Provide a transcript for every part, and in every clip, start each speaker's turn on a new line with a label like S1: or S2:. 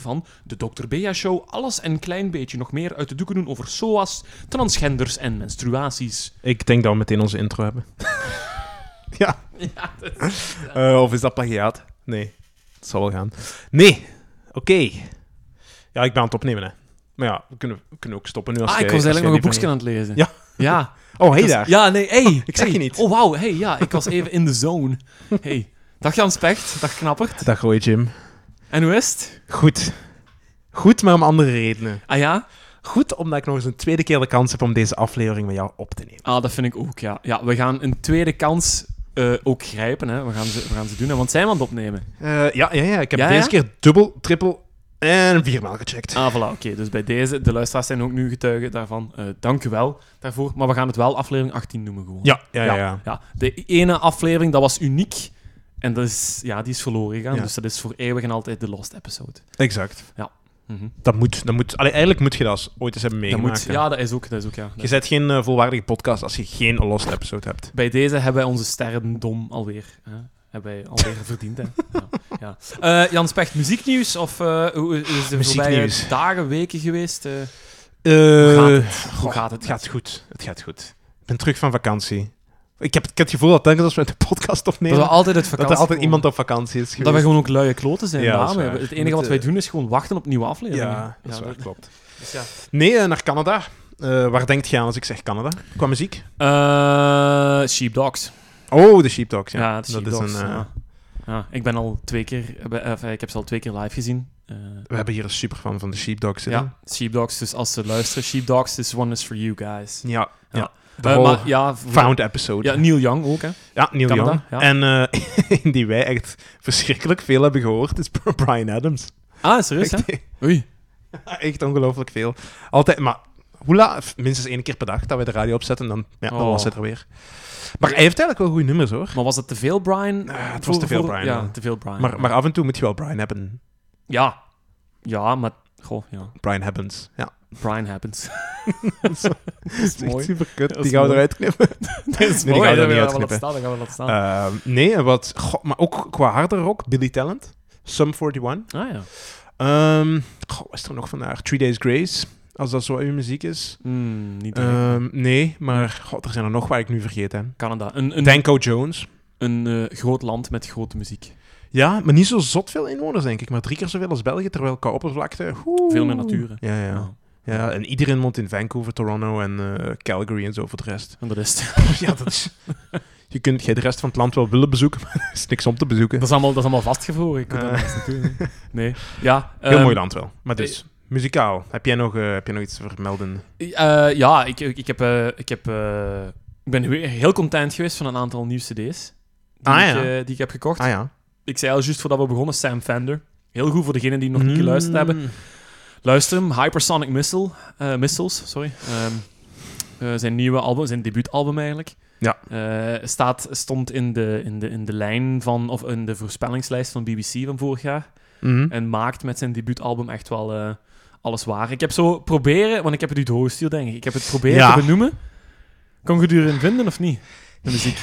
S1: van de Dr. Bea Show alles en een klein beetje nog meer uit de doeken doen over SOA's, transgenders en menstruaties.
S2: Ik denk dat we meteen onze intro hebben. ja. Eh, of is dat plagiaat? Nee. Het zal wel gaan. Nee. Oké. Ja, ik ben aan het opnemen, hè. Maar ja, we kunnen, we kunnen ook stoppen nu als
S1: ah,
S2: jij-
S1: ik was
S2: als
S1: eigenlijk nog een
S2: jij
S1: boekje
S2: die
S1: aan het lezen.
S2: Ja.
S1: Ja.
S2: van- Oh, hey
S1: Ik was-
S2: daar.
S1: Ja, nee, hey.
S2: ik zag
S1: hey.
S2: je niet.
S1: Oh, wauw, hey, ja, ik was even in de zone. Hey. Dag Jan Specht, dag Knappert.
S2: Dag, Roy Jim.
S1: En hoe is het?
S2: Goed. Goed, maar om andere redenen.
S1: Ah ja?
S2: Goed, omdat ik nog eens een tweede keer de kans heb om deze aflevering met jou op te nemen.
S1: Ah, dat vind ik ook, ja. Ja, we gaan een tweede kans eh, ook grijpen, hè. We gaan ze, we gaan ze doen, hè, want zijn we aan het opnemen?
S2: Eh, ja, ja, ja. Ik heb
S1: Ja,
S2: deze
S1: ja?
S2: keer dubbel, trippel en viermaal gecheckt.
S1: Ah, voilà, oké. Dus bij deze, de luisteraars zijn ook nu getuigen daarvan. Eh dank u wel daarvoor. Maar we gaan het wel aflevering 18 noemen gewoon.
S2: Ja, ja, ja. ja.
S1: ja. De ene aflevering, dat was uniek. En dat is, ja, die is verloren gegaan.
S2: Ja.
S1: Dus dat is voor eeuwig en altijd de lost episode.
S2: Exact.
S1: Mhm.
S2: Dat moet. Dat moet allee, eigenlijk moet je dat eens ooit eens hebben
S1: Dat
S2: meegemaakt.
S1: moet,
S2: hè.
S1: ja, dat is ook, dat is ook, ja.
S2: Je zet geen eh, volwaardige podcast als je geen lost episode hebt.
S1: Bij deze hebben wij onze sterrendom alweer, hè? hebben wij alweer verdiend, hè. Ja. ja. Eh, Jan Specht, muzieknieuws? Of eh, hoe hoe is de voorbije
S2: Muzieknieuws.
S1: dagen, weken geweest? eh? hoe
S2: Eh,
S1: gaat het?
S2: goh,
S1: Hoe gaat het?
S2: het gaat goed. Het gaat goed. Ik ben terug van vakantie. Ik heb, ik heb het gevoel dat telkens als we de podcast
S1: dat we
S2: opnemen,
S1: altijd het
S2: dat
S1: vakantie
S2: er altijd
S1: komen.
S2: iemand op vakantie is geweest.
S1: Dat we gewoon ook luie kloten zijn.
S2: Ja, dat is
S1: dame.
S2: waar.
S1: Het
S2: We
S1: enige wat wij
S2: moeten-
S1: doen is gewoon wachten op nieuwe afleveringen.
S2: Ja, dat is waar, klopt.
S1: dus ja.
S2: Nee, eh, naar Canada. Eh, waar denk je aan als ik zeg Canada? Qua muziek?
S1: Eh, Sheepdogs.
S2: Oh, de Sheepdogs. Ja,
S1: Ja, de Sheepdogs.
S2: eh,
S1: ja. Ja, ik ben al twee keer, eh, bij- of, eh, ik heb ze al twee keer live gezien. Eh,
S2: We hebben hier een superfan van de Sheepdogs zitten.
S1: ja, Sheepdogs, dus als ze luisteren, Sheepdogs, this one is for you guys.
S2: Ja. ja.
S1: Ja.
S2: De
S1: Eh,
S2: whole
S1: maar ja, voor-
S2: found episode.
S1: ja, Neil Young ook, hè.
S2: Ja, Neil
S1: Canada,
S2: Young.
S1: ja.
S2: En eh, die wij echt verschrikkelijk veel hebben gehoord, is Brian Adams.
S1: Ah, serieus, hè?
S2: Echt,
S1: Oei.
S2: echt ongelooflijk veel. Altijd, maar hoe laat? Minstens één keer per dag dat wij de radio opzetten, dan, ja, dan
S1: Oh.
S2: was het er weer. Maar hij heeft eigenlijk wel goede nummers, hoor.
S1: Maar was het te veel Brian?
S2: Eh, het
S1: Voor-
S2: was te veel
S1: voor-
S2: Brian,
S1: Ah, Ja,
S2: ja.
S1: te veel Brian.
S2: Maar, maar af en toe moet je wel Brian hebben.
S1: Ja. Ja, maar... Goh, ja.
S2: Brian Happens. Ja,
S1: Brian happens.
S2: dat is
S1: mooi.
S2: echt super kut.
S1: Dat
S2: Die
S1: is
S2: gaan we
S1: mooi.
S2: eruit knippen.
S1: dat is
S2: Nee, die
S1: mooi.
S2: gaan we
S1: dat
S2: er niet
S1: gaan we laten
S2: uitknippen.
S1: staan, dat gaan we laten staan.
S2: Ehm, nee, en wat, goh, maar ook qua harde rock, Billy Talent, Sum 41.
S1: ah, ja.
S2: Ehm goh, wat is er nog vandaag? Three Days Grace, als dat zo uw muziek is.
S1: Hmm, niet direct.
S2: Ehm, nee, maar god, er zijn er nog waar ik nu vergeten.
S1: Canada. Een, een,
S2: Danko Jones.
S1: een eh, groot land met grote muziek.
S2: Ja, maar niet zo zot veel inwoners, denk ik. Maar drie keer zoveel als België, terwijl qua oppervlakte... oeh.
S1: Veel meer natuur, hè.
S2: Ja, ja.
S1: Ja.
S2: ja, en iedereen woont in Vancouver, Toronto en eh, Calgary en zo voor de rest.
S1: En dat is het.
S2: ja, dat is... Je kunt jij de rest van het land wel willen bezoeken, maar er is niks om te bezoeken.
S1: Dat is allemaal, dat is allemaal vastgevroren. Ik kan daar
S2: Eh.
S1: niks naartoe, nee. Nee. Ja,
S2: Heel
S1: ehm,
S2: mooi land wel. Maar dus, muzikaal. Heb jij nog, eh, heb jij nog iets te vermelden?
S1: eh, ja, ik, ik, ik heb... eh, ik, heb eh, ik ben weer heel content geweest van een aantal nieuwe cd's. Die,
S2: Ah,
S1: ik,
S2: ja.
S1: eh, die ik heb gekocht.
S2: Ah ja.
S1: Ik zei al juist voordat we begonnen, Sam Fender. Heel goed voor degenen die nog niet geluisterd hebben.
S2: Mm.
S1: Luister hem, Hypersonic Missile, eh, Missiles, sorry. Ehm, eh, zijn nieuwe album, zijn debuutalbum eigenlijk.
S2: Ja.
S1: Eh, staat, stond in de, in, de, in de lijn van, of in de voorspellingslijst van BBC van vorig jaar.
S2: Mhm.
S1: En maakt met zijn debuutalbum echt wel eh, alles waar. Ik heb zo proberen, want ik heb het u doorgestuurd denk ik. Ik heb het proberen
S2: Ja.
S1: te benoemen. Kon je het erin vinden of niet? De muziek.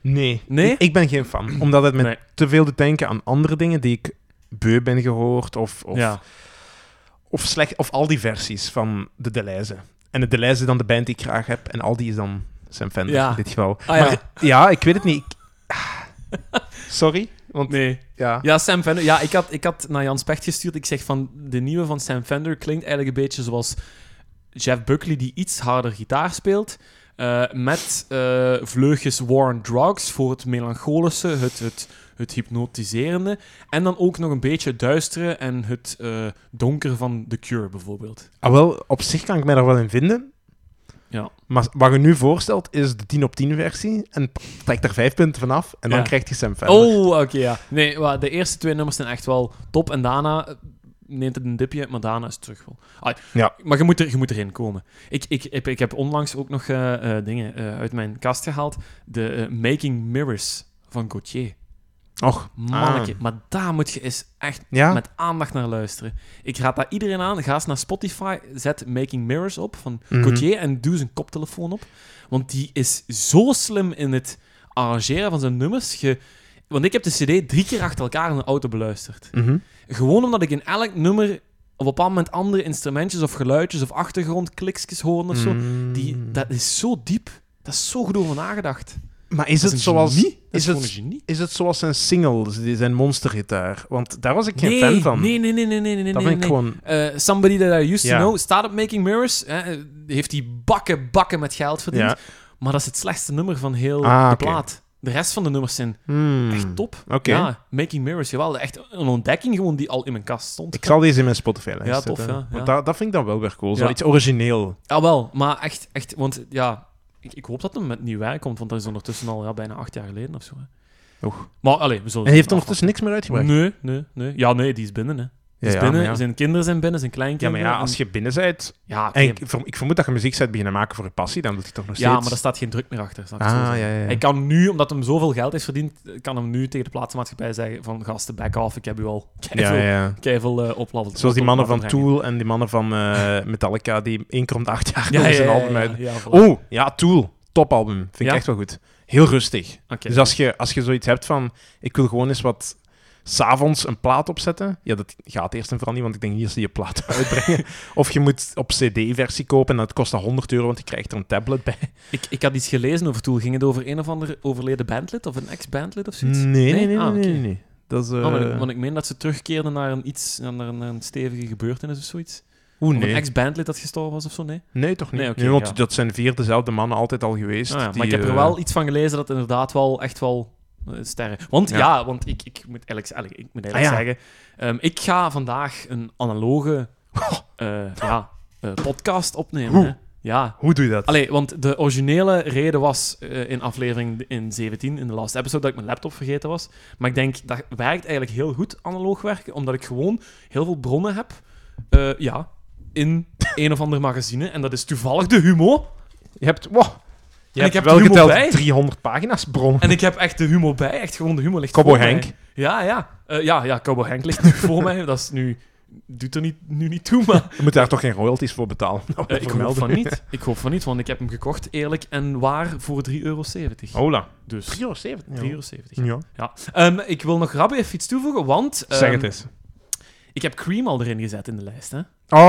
S2: Nee.
S1: Nee?
S2: Ik, ik ben geen fan. Omdat het met
S1: Nee.
S2: te veel doet denken aan andere dingen die ik beu ben gehoord. Of, of,
S1: Ja.
S2: of, slecht, of al die versies van de Deleuze. En de Deleuze is dan de band die ik graag heb. En al die is dan Sam Fender
S1: Ja. Ah,
S2: in dit geval.
S1: ja.
S2: Maar ja, ik weet het niet. Ik- ah. Sorry. Want
S1: Nee.
S2: ja.
S1: Ja, Sam Fender. Ja, ik had, ik had naar Jan Specht gestuurd. Ik zeg van, de nieuwe van Sam Fender klinkt eigenlijk een beetje zoals Jeff Buckley die iets harder gitaar speelt. eh, met eh, vleugjes War on Drugs voor het melancholische, het, het, het hypnotiserende. En dan ook nog een beetje het duistere en het eh donker van The Cure bijvoorbeeld.
S2: Ah, wel, op zich kan ik mij daar wel in vinden.
S1: Ja.
S2: Maar wat je nu voorstelt is de 10 op 10 versie. En trek er 5 punten vanaf. En dan
S1: Ja.
S2: krijgt hij Sam Fender.
S1: Oh, oké, ja. Nee, maar de eerste twee nummers zijn echt wel top. En daarna eh, neemt het een dipje, maar daarna is het terug wel. Ai,
S2: Ja.
S1: Maar je moet, er, je moet erin komen. Ik, ik, heb, ik heb onlangs ook nog eh, eh, dingen eh, uit mijn kast gehaald. De eh, Making Mirrors van Gauthier.
S2: Och.
S1: Manneke, maar daar moet je eens echt
S2: Ja?
S1: met aandacht naar luisteren. Ik raad daar iedereen aan. Ga eens naar Spotify, zet Making Mirrors op van
S2: Mhm.
S1: Gauthier en doe zijn koptelefoon op. Want die is zo slim in het arrangeren van zijn nummers. Je, Want ik heb de CD drie keer achter elkaar in de auto beluisterd.
S2: Mhm.
S1: Gewoon omdat ik in elk nummer op een bepaald moment andere instrumentjes of geluidjes of achtergrondklikjes hoorde of zo. Die,
S2: Mm.
S1: dat is zo diep. Dat is zo goed over nagedacht.
S2: Maar is
S1: dat
S2: het
S1: is een
S2: zoals...
S1: genie. Dat is,
S2: Is
S1: gewoon een
S2: het,
S1: genie.
S2: is het zoals zijn singles, die- zijn monstergitaar? Want daar was ik geen fan van.
S1: nee, nee, nee, nee, nee, nee. nee,
S2: dat vind ik
S1: nee.
S2: gewoon...
S1: Eh, somebody that I used
S2: Ja.
S1: to know staat op Making Mirrors. hè, eh, heeft die bakken, bakken met geld verdiend.
S2: Ja.
S1: Maar dat is het slechtste nummer van heel
S2: Ah,
S1: de
S2: oké.
S1: plaat. De rest van de nummers zijn
S2: Hmm.
S1: echt top.
S2: Oké.
S1: Ja, Making Mirrors, jawel. Echt een ontdekking gewoon die al in mijn kast stond.
S2: Ik zal deze in mijn Spotify lijst
S1: Ja, tof,
S2: zetten.
S1: ja, ja.
S2: Want dat, dat vind ik dan wel weer cool. Zo
S1: Ja.
S2: iets origineel.
S1: Ah, wel. Maar echt, echt want ja... Ik, ik hoop dat hem met nieuw werk komt, want dat is ondertussen al ja, bijna acht jaar geleden of zo. hè.
S2: Oeh.
S1: Maar allee, we zullen...
S2: En heeft
S1: zien.
S2: ondertussen niks meer uitgebracht.
S1: Nee, nee, nee. Ja, nee, die is binnen, hè. Die
S2: Ja,
S1: is
S2: ja,
S1: binnen,
S2: maar ja.
S1: zijn kinderen zijn binnen, zijn
S2: Ja, maar
S1: kleinkinderen.
S2: ja, als je binnen bent...
S1: en- Ja,
S2: En
S1: oké.
S2: ik, ver- ik vermoed dat je muziek bent beginnen maken voor je passie, dan doet hij toch nog
S1: ja,
S2: steeds...
S1: maar daar staat geen druk meer achter. snap je
S2: Ah,
S1: wat ik wil
S2: ja,
S1: zeggen?
S2: ja, ja.
S1: Hij kan nu, omdat hem zoveel geld heeft verdiend, kan hem nu tegen de platenmaatschappij zeggen van gasten, back off, ik heb u al
S2: Ja,
S1: keiveel,
S2: ja, ja.
S1: keiveel eh, oplaffen-
S2: Zoals die mannen van
S1: oplaffen
S2: Tool en die mannen van eh, Metallica, die één keer om de acht jaar
S1: brengen. Ja,
S2: nog eens
S1: ja,
S2: een
S1: ja,
S2: album
S1: ja,
S2: uit.
S1: ja, voilà.
S2: Oh, ja, Tool. Topalbum. Vind ik
S1: Ja?
S2: echt wel goed. Heel rustig.
S1: Oké.
S2: Dus als je, als je zoiets hebt van, ik wil gewoon eens wat s'avonds een plaat opzetten, ja, dat gaat eerst en vooral niet, want ik denk niet dat ze je plaat uitbrengen. of je moet op cd-versie kopen en dat kost dan 100 euro, want je krijgt er een tablet bij.
S1: Ik, ik had iets gelezen over Tool. Ging het over een of ander overleden bandlid of een ex-bandlid of
S2: Nee,
S1: zoiets?
S2: nee, nee, nee.
S1: Ah,
S2: nee,
S1: oké.
S2: nee, nee. Dat is... eh,
S1: Oh, want, ik, want ik meen dat ze terugkeerden naar een, iets, naar een, naar een stevige gebeurtenis of zoiets.
S2: Oeh,
S1: Of
S2: nee.
S1: een ex-bandlid dat gestorven was of zo, nee?
S2: Nee, toch niet.
S1: Nee, oké,
S2: Nee, want
S1: ja.
S2: dat zijn vier dezelfde mannen altijd al geweest.
S1: Ah ja,
S2: die,
S1: maar ik heb er
S2: eh,
S1: wel iets van gelezen dat inderdaad wel echt wel eh, sterren. Want
S2: Ja.
S1: ja, want ik, ik moet eigenlijk, eigenlijk- ik moet eigenlijk
S2: Ah, ja.
S1: zeggen, ehm, ik ga vandaag een analoge eh, ja, eh, podcast opnemen.
S2: Hoe?
S1: Hè. Ja.
S2: Hoe doe je dat?
S1: Allee, want de originele reden was eh, in aflevering in 17, in de laatste episode, dat ik mijn laptop vergeten was. Maar ik denk, dat werkt eigenlijk heel goed, analoog werken, omdat ik gewoon heel veel bronnen heb eh, ja, in een of ander magazine. En dat is toevallig de Humo.
S2: Je hebt... Wow, je
S1: En ik
S2: hebt
S1: heb
S2: wel
S1: de humor
S2: geteld
S1: bij.
S2: 300 pagina's bron.
S1: En ik heb echt de humor bij, echt gewoon de humor ligt
S2: Cowboy
S1: voor mij.
S2: Henk.
S1: Ja, ja. Eh, ja, ja, Cowboy Henk ligt nu voor mij. Dat is nu... Doet er niet, nu niet toe, maar
S2: Je moet daar toch geen royalties voor betalen? om dat
S1: eh,
S2: te
S1: ik hoop
S2: vermelden.
S1: van niet. Ik hoop van niet, want ik heb hem gekocht, eerlijk en waar, voor 3,70 euro.
S2: Hola.
S1: Dus 3,70
S2: 3,70
S1: euro.
S2: Ja.
S1: Ja. Ehm, ik wil nog rap even iets toevoegen, want... ehm,
S2: Zeg het eens.
S1: Ik heb Cream al erin gezet in de lijst, hè.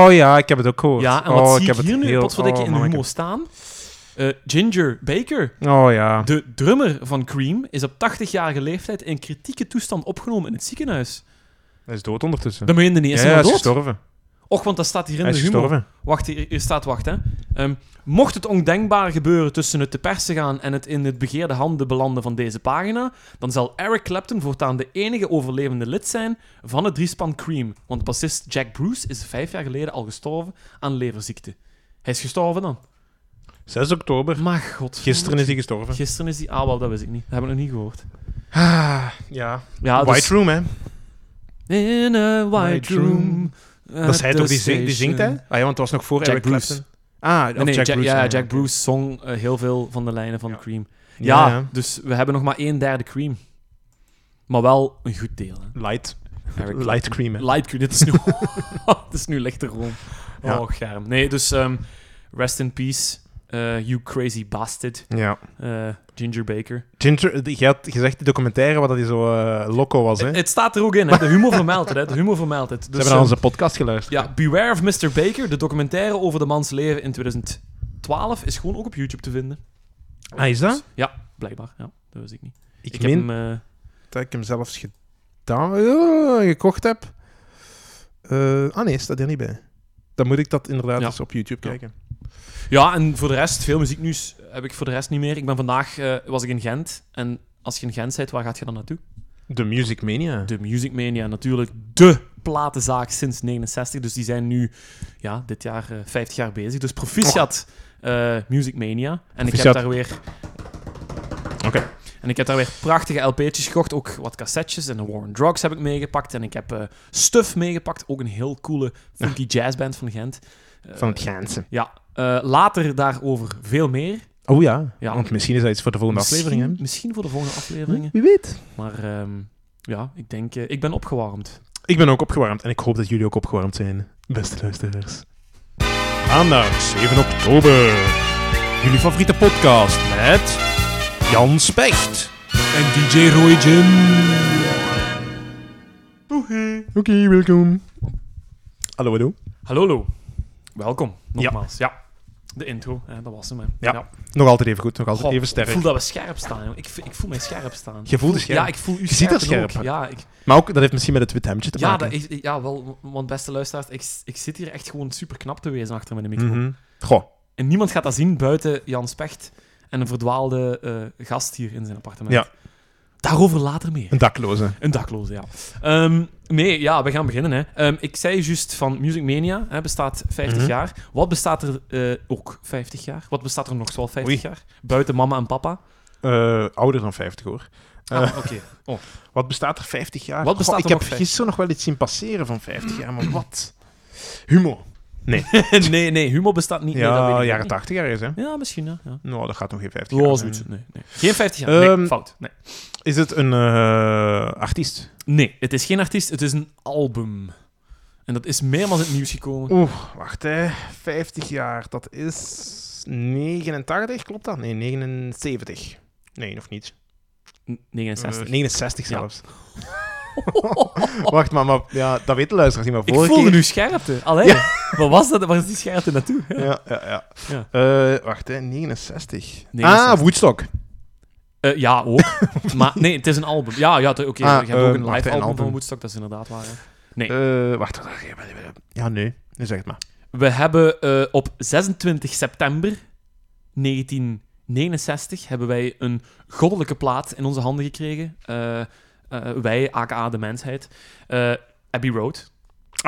S2: Oh ja, ik heb het ook gehoord.
S1: Ja, en
S2: oh,
S1: wat zie
S2: heb
S1: ik
S2: het
S1: hier nu,
S2: heel-
S1: potverdikke,
S2: oh,
S1: in de
S2: manneke.
S1: humo staan? Eh, Ginger Baker,
S2: Oh ja.
S1: de drummer van Cream, is op 80-jarige leeftijd in kritieke toestand opgenomen in het ziekenhuis.
S2: Hij is dood ondertussen.
S1: Dat meen je niet.
S2: ja,
S1: Is
S2: hij
S1: hij
S2: is
S1: nou dood?
S2: gestorven.
S1: Och, want dat staat hier in
S2: Hij
S1: de
S2: is
S1: humor.
S2: gestorven.
S1: Wacht, hier, hier staat, wacht hè. Ehm, mocht het ondenkbaar gebeuren tussen het te persen gaan en het in het begeerde handen belanden van deze pagina, dan zal Eric Clapton voortaan de enige overlevende lid zijn van het driespan Cream. Want bassist Jack Bruce is vijf jaar geleden al gestorven aan leverziekte. Hij is gestorven dan.
S2: 6 oktober.
S1: Maar god.
S2: Gisteren is hij gestorven.
S1: Gisteren is die... Ah, wel, dat wist ik niet. Dat heb ik nog niet gehoord.
S2: Ah, ja.
S1: Ja,
S2: White
S1: dus-
S2: Room, hè.
S1: In a
S2: White
S1: white room.
S2: room. Dat is hij
S1: at
S2: toch
S1: the
S2: die, zingt- die zingt, hè? Ah
S1: station.
S2: ja, want het was nog voor
S1: eh, Jack
S2: Eric
S1: Bruce.
S2: Clapton. Ah, of
S1: Nee, nee,
S2: Jack,
S1: Jack-
S2: Bruce.
S1: ja,
S2: ja,
S1: Jack
S2: oké.
S1: Bruce zong eh, heel veel van de lijnen van
S2: Ja.
S1: Cream.
S2: Ja,
S1: Ja,
S2: ja.
S1: dus we hebben nog maar één derde Cream. Maar wel een goed deel. Hè.
S2: Light,
S1: Eric
S2: light cream, hè.
S1: Clapton. Light Cream, dit is nu, het is nu lichter room.
S2: Ja.
S1: Oh, germ. Nee, dus ehm, rest in peace, eh, you crazy bastard,
S2: Ja.
S1: eh, Ginger Baker.
S2: Ginger, die- je had gezegd die documentaire waar dat hij zo eh, loco was, hè?
S1: Het staat er ook in, hè. de humor vermeldt het. Hè. De humor vermeldt het.
S2: Ze
S1: Dus,
S2: hebben naar
S1: ehm,
S2: onze podcast geluisterd.
S1: ja, Beware of Mr. Baker, de documentaire over de mans leven in 2012, is gewoon ook op YouTube te vinden.
S2: Ah, is dat?
S1: Ja, blijkbaar. Ja, dat wist ik niet.
S2: Ik,
S1: ik
S2: meen
S1: heb hem... eh,
S2: dat ik hem zelfs gedaan, eh, gekocht heb. Eh, ah nee, staat er niet bij. Dan moet ik dat inderdaad
S1: Ja.
S2: eens op YouTube
S1: Ja.
S2: kijken.
S1: Ja, en voor de rest, veel muzieknieuws heb ik voor de rest niet meer. Ik ben vandaag eh, was ik in Gent. En als je in Gent bent, waar gaat je dan naartoe?
S2: De Music Mania.
S1: De Music Mania, natuurlijk de platenzaak sinds 69. Dus die zijn nu ja, dit jaar eh, 50 jaar bezig. Dus proficiat eh, Music Mania. En ik
S2: Proficiat.
S1: heb daar weer...
S2: Oké.
S1: En ik heb daar weer prachtige LP'tjes gekocht. Ook wat cassettes en de War on Drugs heb ik meegepakt. En ik heb eh, Stuff meegepakt. Ook een heel coole funky jazzband van Gent. Eh,
S2: Van het Gaanse.
S1: Ja, eh, later daarover veel meer.
S2: Oh ja.
S1: Ja.
S2: want misschien is dat iets voor de volgende
S1: Misschien-
S2: aflevering. Hè?
S1: Misschien voor de volgende afleveringen.
S2: Wie weet.
S1: Maar ehm, ja, ik denk, eh, ik ben opgewarmd.
S2: Ik ben ook opgewarmd en ik hoop dat jullie ook opgewarmd zijn, beste luisteraars. Maandag 7 oktober. Jullie favoriete podcast met Jan Specht,
S1: En DJ Roy Jim.
S2: Oké, welkom. Hallo, hallo.
S1: Hallo, Lo. Welkom, nogmaals. Ja. De intro, hè, dat was hem. Hè.
S2: Ja. Nog altijd even goed, nog altijd
S1: Goh,
S2: even
S1: Ik
S2: sterk.
S1: voel dat we scherp staan. joh. Ik, v- ik voel mij scherp staan.
S2: Je voelt het scherp.
S1: Ja, ik voel u
S2: Je ziet dat
S1: scherpen
S2: scherp.
S1: ook. Ja, ik,
S2: Maar ook, dat heeft misschien met het wit hemdje te
S1: ja,
S2: maken.
S1: dat is, ja, wel, want beste luisteraars, ik, ik zit hier echt gewoon super knap te wezen achter mijn micro.
S2: Mhm. Goh,
S1: En niemand gaat dat zien buiten Jan Specht en een verdwaalde eh, gast hier in zijn appartement.
S2: Ja.
S1: Daarover later meer.
S2: een dakloze.
S1: Een dakloze, ja. Ehm, nee, ja, we gaan beginnen. Hè. Ehm, ik zei juist van Music Mania hè, bestaat 50
S2: Mhm.
S1: jaar. Wat bestaat er eh, ook 50 jaar? Wat bestaat er nog zoal 50
S2: Oei.
S1: jaar? Buiten mama en papa?
S2: Eh, ouder dan 50 hoor.
S1: Ah,
S2: Eh.
S1: oké. Oh.
S2: Wat bestaat er 50 jaar?
S1: Wat bestaat
S2: ik
S1: er
S2: heb
S1: nog 50?
S2: gisteren nog wel iets zien passeren van 50 jaar, maar wat? Humor.
S1: nee, nee, humor bestaat niet. Nee, dat weet
S2: Ja,
S1: ik
S2: jaren
S1: niet.
S2: 80 jaar is, hè?
S1: Ja, misschien, ja. ja.
S2: Nou, dat gaat nog geen 50 jaar
S1: Oh,
S2: zijn.
S1: zoiets. Nee, nee. Geen 50 jaar.
S2: Ehm,
S1: nee, fout. Nee.
S2: Is het een eh, artiest?
S1: nee, het is geen artiest, het is een album. En dat is meermaals in het nieuws gekomen.
S2: Oeh, wacht hè. 50 jaar, dat is 89, klopt dat? Nee, 79. Nee, nog niet.
S1: N- 69.
S2: Eh, 69
S1: Ja.
S2: zelfs. wacht maar, maar ja, dat weten de luisteraars niet, maar
S1: ik
S2: vorige
S1: voelde
S2: keer...
S1: nu scherpte. Allee, wat was dat? Waar is die scherpte naartoe?
S2: Ja, ja, ja.
S1: Ja.
S2: Eh, wacht hè, 69.
S1: 69.
S2: Ah, Woodstock.
S1: Eh, ja, ook. maar nee, het is een album. Ja, ja te- oké.
S2: Ah,
S1: je hebt ook
S2: ehm,
S1: een
S2: wacht,
S1: live
S2: een
S1: album,
S2: album.
S1: van Woodstock, dat is inderdaad waar. hè. Nee.
S2: Eh, wacht, wacht, wacht, wacht. Ja, nee. Nu zeg het maar.
S1: We hebben eh, op 26 september 1969 hebben wij een goddelijke plaat in onze handen gekregen. Eh, eh, wij, aka de mensheid. Eh, Abbey Road.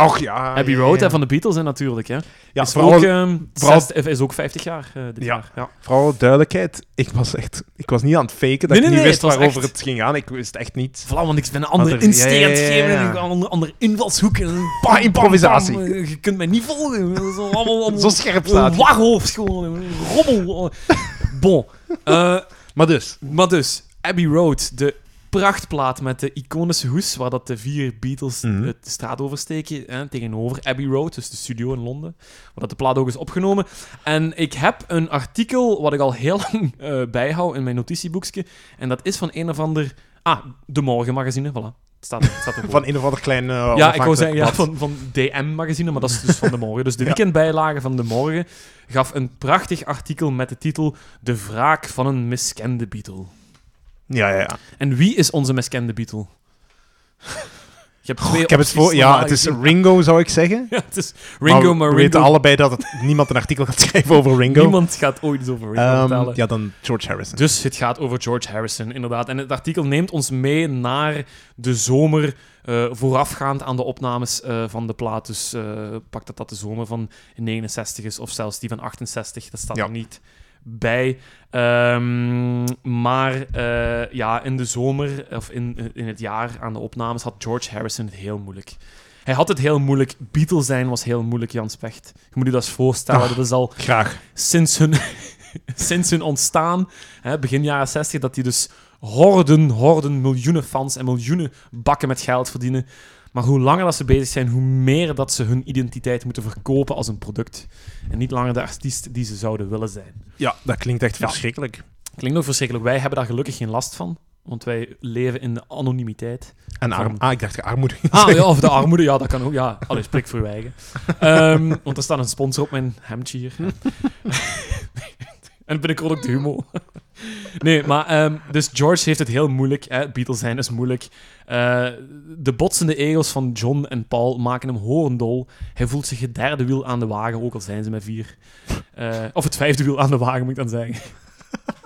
S2: Och ja.
S1: Abbey
S2: Ah, ja,
S1: Road
S2: ja.
S1: hè, van de Beatles hè, natuurlijk. Hè.
S2: Ja,
S1: is,
S2: vooral
S1: ook, ehm,
S2: vooral-
S1: zes- eh, is ook 50 jaar eh, dit
S2: Ja.
S1: jaar. Ja.
S2: Vooral duidelijkheid, ik was echt... Ik was niet aan het faken dat
S1: Nee,
S2: ik
S1: nee,
S2: niet
S1: nee,
S2: wist
S1: het was
S2: waarover
S1: echt-
S2: het ging gaan. Ik wist echt niet.
S1: Voilà, want ik ben een andere
S2: er- ja,
S1: insteek aan het
S2: ja, ja,
S1: geven,
S2: ja.
S1: een andere- andere invalshoek en een
S2: Pa, improvisatie.
S1: pam, eh, Je kunt mij niet volgen. Dat is allemaal, allemaal-
S2: Zo scherp staat
S1: Een
S2: hij.
S1: warhoofd gewoon, een rommel. Bon. Eh,
S2: Maar dus.
S1: maar dus, Abbey Road, de prachtplaat met de iconische hoes, waar dat de vier Beatles
S2: Mhm.
S1: eh, de straat oversteken, hè, tegenover Abbey Road, dus de studio in Londen, waar dat de plaat ook is opgenomen. En ik heb een artikel, wat ik al heel lang eh, bijhoud in mijn notitieboekje, en dat is van een of ander... Ah, De Morgen Magazine, voilà. Het staat, het staat erboven.
S2: Van een of ander klein... eh,
S1: Ja, ik wou
S2: onafhankelijk
S1: zeggen, ja,
S2: blad.
S1: van, van DM-magazine, maar dat is dus van de morgen. Dus de
S2: Ja.
S1: weekendbijlage van de morgen gaf een prachtig artikel met de titel De wraak van een miskende Beatle.
S2: Ja, ja, ja.
S1: En wie is onze miskende Beatle? Je hebt
S2: Goh,
S1: twee
S2: ik heb het
S1: opties
S2: voor... Ja,
S1: normaal
S2: het is
S1: gezien.
S2: Ringo, zou ik zeggen.
S1: Ja, het is Ringo, maar,
S2: we
S1: Ringo...
S2: weten allebei dat het, niemand een artikel gaat schrijven over Ringo.
S1: Niemand gaat ooit iets over Ringo
S2: Ehm,
S1: vertellen.
S2: ja, dan George Harrison.
S1: Dus het gaat over George Harrison, inderdaad. En het artikel neemt ons mee naar de zomer eh, voorafgaand aan de opnames eh, van de plaat. Dus eh, pak dat dat de zomer van 69 is, of zelfs die van 68. Dat staat
S2: Ja.
S1: er niet bij. Ehm, maar eh, ja, in de zomer, of in, in het jaar aan de opnames, had George Harrison het heel moeilijk. Hij had het heel moeilijk. Beatle zijn was heel moeilijk, Jan Specht. Je moet je dat eens voorstellen.
S2: Ah.
S1: Dat is al
S2: Graag.
S1: sinds hun, sinds hun ontstaan, hè, begin jaren 60, dat die dus horden, horden, miljoenen fans en miljoenen bakken met geld verdienen. Maar hoe langer dat ze bezig zijn, hoe meer dat ze hun identiteit moeten verkopen als een product. En niet langer de artiest die ze zouden willen zijn.
S2: Ja, dat klinkt echt
S1: Ja.
S2: verschrikkelijk.
S1: Klinkt ook verschrikkelijk. Wij hebben daar gelukkig geen last van. Want wij leven in de anonimiteit.
S2: En arm...
S1: Van-
S2: Ah, ik dacht armoede.
S1: Ah, ja, of de armoede, ja, dat kan ook. Ja, allee, spreek voor je eigen. Ehm, want er staat een sponsor op mijn hemdje hier.
S2: Hm.
S1: en binnenkort ook de humo. nee, maar ehm, dus George heeft het heel moeilijk. Hè? Beatles zijn is moeilijk. Eh, de botsende ego's van John en Paul maken hem horendol. Hij voelt zich het derde wiel aan de wagen, ook al zijn ze met vier. Eh, of het vijfde wiel aan de wagen, moet ik dan zeggen.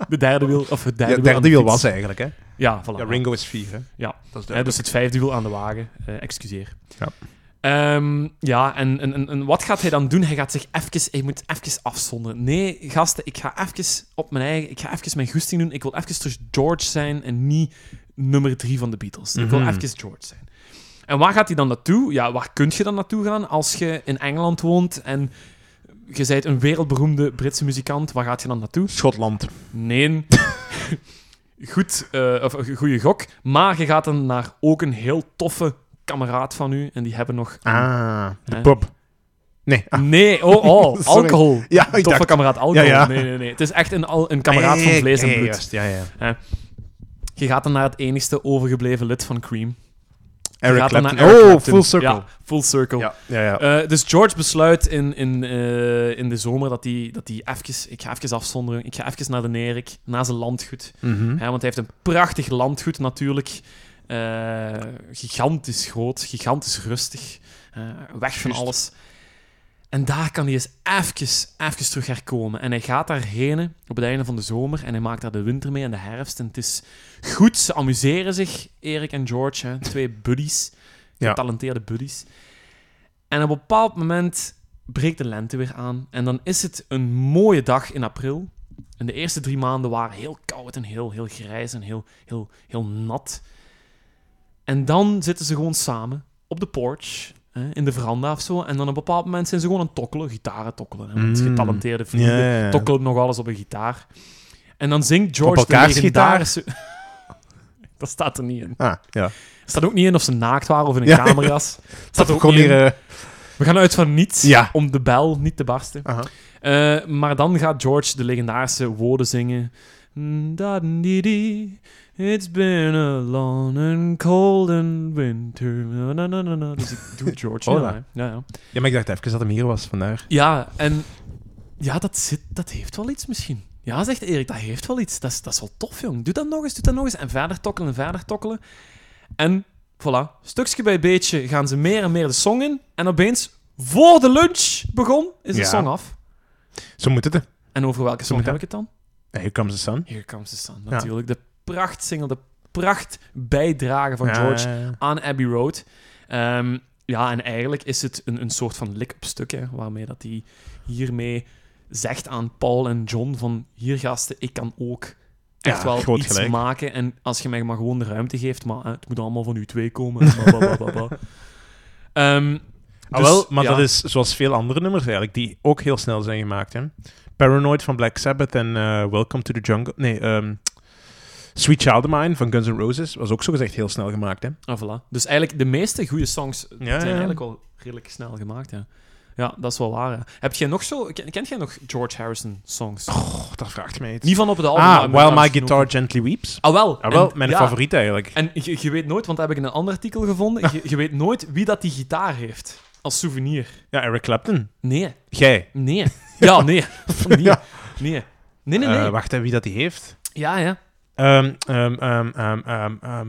S1: De derde wiel, of het derde
S2: Ja,
S1: wiel aan
S2: derde
S1: de
S2: wiel
S1: fiets.
S2: was eigenlijk, hè.
S1: Ja, voilà.
S2: Ja, Ringo is vier, hè.
S1: Ja.
S2: Dat is
S1: Hè,
S2: duidelijk.
S1: dus het vijfde wiel aan de wagen. Eh, excuseer.
S2: Ja.
S1: Ehm, ja, en, en, en, en wat gaat hij dan doen? Hij gaat zich even... Hij moet even afzonderen. Nee, gasten, ik ga even op mijn eigen... Ik ga even mijn goesting doen. Ik wil even dus George zijn en niet nummer drie van de Beatles. Ik
S2: Mhm.
S1: wil even George zijn. En waar gaat hij dan naartoe? Ja, waar kun je dan naartoe gaan als je in Engeland woont en je bent een wereldberoemde Britse muzikant? Waar gaat je dan naartoe?
S2: dus Schotland.
S1: Nee. Goed, eh, of een goede gok. Maar je gaat dan naar ook een heel toffe kameraad van u. En die hebben nog.
S2: Ah, de
S1: Hè?
S2: pub. Nee, ah,
S1: Nee, oh, oh,
S2: Sorry.
S1: alcohol.
S2: ja, ik
S1: Toffe
S2: dacht-
S1: kameraad alcohol.
S2: Ja, ja.
S1: Nee, nee, nee. Het is echt een, al- een kameraad van
S2: Nee,
S1: vlees en
S2: nee,
S1: bloed.
S2: juist, ja, ja.
S1: Je gaat dan naar het enigste overgebleven lid van Cream. Je
S2: Eric
S1: gaat dan
S2: Clapton.
S1: naar Eric
S2: oh,
S1: Clapton.
S2: full circle.
S1: Ja, full circle.
S2: Ja, ja, ja.
S1: Eh, dus George besluit in, in, eh, in de zomer dat hij dat die even... Ik ga even afzonderen. Ik ga even naar de Nerik, naar zijn landgoed.
S2: Mhm.
S1: Hè, want hij heeft een prachtig landgoed natuurlijk. Eh, gigantisch groot, gigantisch rustig. Eh, weg van
S2: Juist.
S1: alles. En daar kan hij eens even, even terug herkomen. En hij gaat daarheen op het einde van de zomer. En hij maakt daar de winter mee en de herfst. En het is goed, ze amuseren zich, Erik en George. Hè, twee buddies,
S2: Ja.
S1: getalenteerde buddies. En op een bepaald moment breekt de lente weer aan. En dan is het een mooie dag in april. En de eerste drie maanden waren heel koud en heel, heel grijs en heel, heel, heel nat. En dan zitten ze gewoon samen op de porch, hè, in de veranda of zo. En dan op een bepaald moment zijn ze gewoon aan het tokkelen, gitaren tokkelen. Hè, want
S2: Mm.
S1: getalenteerde vrienden
S2: Ja, ja, ja.
S1: tokkelen nog alles op een gitaar. En dan zingt George
S2: Op elkaars
S1: de legendarische... Dat staat er niet in.
S2: Ah, ja.
S1: Er staat ook niet in of ze naakt waren of in een
S2: Ja.
S1: kamerjas. Staat er ook
S2: Kon
S1: niet
S2: hier...
S1: in.
S2: eh,
S1: We gaan uit van niets
S2: Ja.
S1: om de bel niet te barsten.
S2: aha.
S1: Eh, maar dan gaat George de legendarische woorden zingen. Da-di-di, It's been a long and cold and winter. Na, na, na, na, na. Dus ik doe George.
S2: Hola.
S1: na, hè. ja, ja.
S2: Ja, maar ik dacht even dat hem hier was, vandaar.
S1: ja, en ja, dat, zit, dat heeft wel iets misschien. Ja, zegt Erik, dat heeft wel iets. Dat is, dat is wel tof, jong. Doe dat nog eens, doe dat nog eens. En verder tokkelen, verder tokkelen. En voilà, stukje bij beetje gaan ze meer en meer de song in. En opeens, voor de lunch begon, is de
S2: Ja.
S1: song af.
S2: Zo moet het, hè.
S1: En over welke song
S2: moet
S1: heb
S2: dat-
S1: ik het dan?
S2: Here comes the sun.
S1: Here Comes the Sun, natuurlijk. De prachtsingle, de prachtbijdrage van
S2: Ja,
S1: George
S2: ja, ja.
S1: aan Abbey Road. Ehm, ja, en eigenlijk is het een, een soort van lik op stuk, hè, waarmee dat hij hiermee zegt aan Paul en John van hier gasten, ik kan ook echt
S2: Ja,
S1: wel
S2: groot
S1: iets
S2: gelijk.
S1: maken. En als je mij maar gewoon de ruimte geeft, maar hè, het moet allemaal van u twee komen. en bla, bla, bla, bla, bla. Ehm,
S2: Ah, wel,
S1: Dus,
S2: maar
S1: ja.
S2: dat is zoals veel andere nummers eigenlijk, die ook heel snel zijn gemaakt. Hè? Paranoid van Black Sabbath en eh, Welcome to the Jungle. Nee, ehm, Sweet Child of Mine van Guns N' Roses was ook zogezegd heel snel gemaakt. Hè?
S1: Ah, voilà. Dus eigenlijk de meeste goede songs eh,
S2: Ja,
S1: zijn
S2: ja, ja.
S1: eigenlijk wel redelijk snel gemaakt. Ja, ja dat is wel waar. hè. Heb jij nog zo, ken- kent jij nog George Harrison songs?
S2: Och, dat vraagt mij iets.
S1: Niet van op het album.
S2: ah,
S1: maar-
S2: While
S1: maar
S2: My
S1: misschien ook-
S2: Guitar Gently Weeps.
S1: Ah, wel.
S2: Ah, wel,
S1: En-
S2: mijn
S1: ja,
S2: favoriet eigenlijk.
S1: En je, je weet nooit, want dat heb ik in een ander artikel gevonden, je, je weet nooit wie dat die gitaar heeft als souvenir.
S2: Ja, Eric Clapton.
S1: Nee,
S2: Jij.
S1: nee. Ja, nee. Nee, nee.
S2: Ja.
S1: Nee, nee, nee.
S2: Eh, wacht, hè, wie dat die heeft?
S1: ja, ja.
S2: Ehm, ehm, ehm, ehm, ehm, ehm.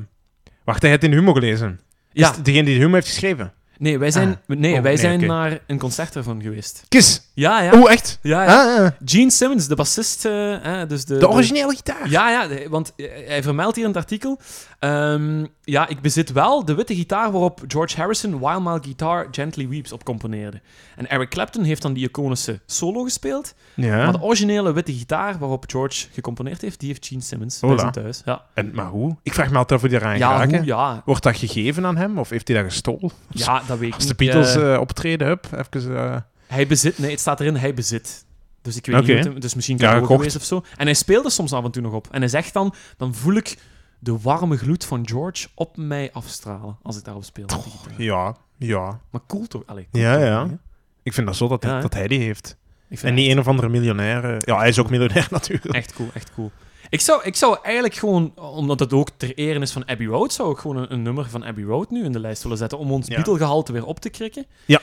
S2: Wacht, hij heeft in Humo gelezen.
S1: Ja,
S2: Is het degene die de Humo heeft geschreven?
S1: nee, wij zijn, nee,
S2: Oh,
S1: wij
S2: nee,
S1: zijn
S2: oké.
S1: naar een concert ervan geweest.
S2: Kiss.
S1: Ja, ja.
S2: Oh, echt?
S1: ja, ja.
S2: Ah, ah.
S1: Gene Simmons, de bassist, eh, hè, dus de,
S2: de originele gitaar.
S1: Ja, ja, de- want eh, hij vermeldt hier in het artikel. ehm, ja, ik bezit wel de witte gitaar waarop George Harrison While My Guitar Gently Weeps op componeerde. En Eric Clapton heeft dan die iconische solo gespeeld.
S2: Ja.
S1: Maar de originele witte gitaar waarop George gecomponeerd heeft, die heeft Gene Simmons bij
S2: Hola.
S1: zijn thuis. Ja,
S2: En, maar hoe? Ik vraag me altijd af hoe die eraan
S1: ja,
S2: geraken.
S1: hoe, ja,
S2: Wordt dat gegeven aan hem of heeft hij dat gestolen?
S1: ja, dat weet ik
S2: Als de
S1: niet.
S2: Beatles
S1: Eh,
S2: eh, optreden, hup, even... eh,
S1: hij bezit, nee, het staat erin, hij bezit. Dus ik weet
S2: Oké.
S1: niet, hoe het- dus misschien
S2: Ja,
S1: kan het ook
S2: gekocht.
S1: geweest of zo. En hij speelde soms af en toe nog op. En hij zegt dan, dan voel ik de warme gloed van George op mij afstralen als ik daarop speel. op die gitaar.
S2: ja, ja.
S1: Maar cool toch? Allee, cool
S2: Ja,
S1: toch,
S2: ja.
S1: hè?
S2: Ik vind dat zo dat, hij-
S1: Ja, hè?
S2: dat hij die heeft.
S1: Ik vind
S2: En
S1: dat
S2: niet een of andere miljonair. eh, ja, hij is ook miljonair natuurlijk.
S1: echt cool, echt cool. Ik zou, ik zou eigenlijk gewoon, omdat het ook ter ere is van Abbey Road, zou ik gewoon een, een nummer van Abbey Road nu in de lijst willen zetten om ons
S2: Ja.
S1: Beatle-gehalte weer op te krikken.
S2: Ja.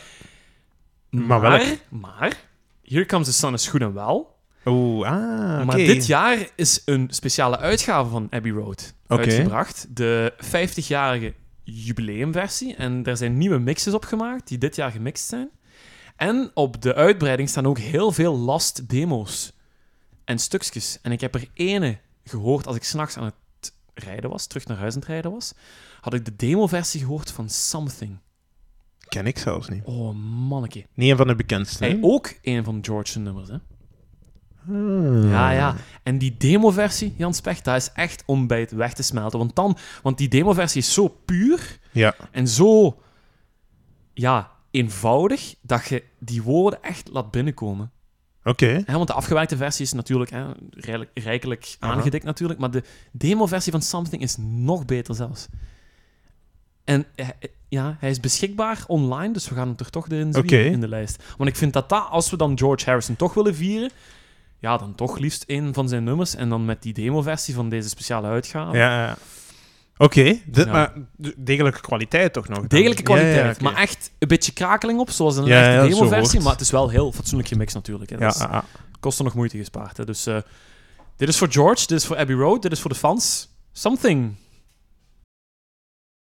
S1: Maar,
S2: Maar
S1: maar,
S2: welk?
S1: Here Comes the Sun is goed en wel.
S2: Oeh, ah, oké.
S1: Maar dit jaar is een speciale uitgave van Abbey Road
S2: Oké.
S1: uitgebracht. De 50-jarige jubileumversie. En daar zijn nieuwe mixes op gemaakt, die dit jaar gemixt zijn. En op de uitbreiding staan ook heel veel last demo's en stukjes. En ik heb er ene gehoord als ik s'nachts aan het rijden was, terug naar huis aan het rijden was. Had ik de demoversie gehoord van Something.
S2: Ken ik zelfs niet.
S1: Oh, manneke.
S2: Niet een van de bekendste. hè?
S1: Hij ook een van George's nummers, hè?
S2: Hmm.
S1: oh. Ja, ja. En die demoversie, Jan Specht, dat is echt om bij het weg te smelten. Want, dan, want die demoversie is zo puur
S2: Ja.
S1: en zo ja, eenvoudig dat je die woorden echt laat binnenkomen.
S2: Oké.
S1: Hè, want de afgewerkte versie is natuurlijk hè, rijk- rijkelijk
S2: Aha.
S1: aangedikt, natuurlijk. Maar de demoversie van Something is nog beter zelfs. En eh, eh, ja, hij is beschikbaar online, dus we gaan hem er toch erin zien
S2: Oké.
S1: in de lijst. Want ik vind dat, dat als we dan George Harrison toch willen vieren, ja, dan toch liefst een van zijn nummers. En dan met die demoversie van deze speciale uitgave.
S2: Ja, ja. Oké, dit-
S1: Oh. Ja.
S2: maar de- degelijke kwaliteit toch nog? dan?
S1: Degelijke
S2: Ja, ja,
S1: kwaliteit,
S2: oké.
S1: maar echt een beetje krakeling op, zoals in een
S2: Ja, ja,
S1: echte
S2: dat is zo'n
S1: demo-versie.
S2: woord.
S1: Maar het is wel heel fatsoenlijk gemixt natuurlijk. Hè.
S2: Ja,
S1: Dat is-
S2: ah, ah.
S1: kostte nog moeite gespaard. Hè. Dus eh, dit is voor George, dit is voor Abbey Road, dit is voor de fans. Something.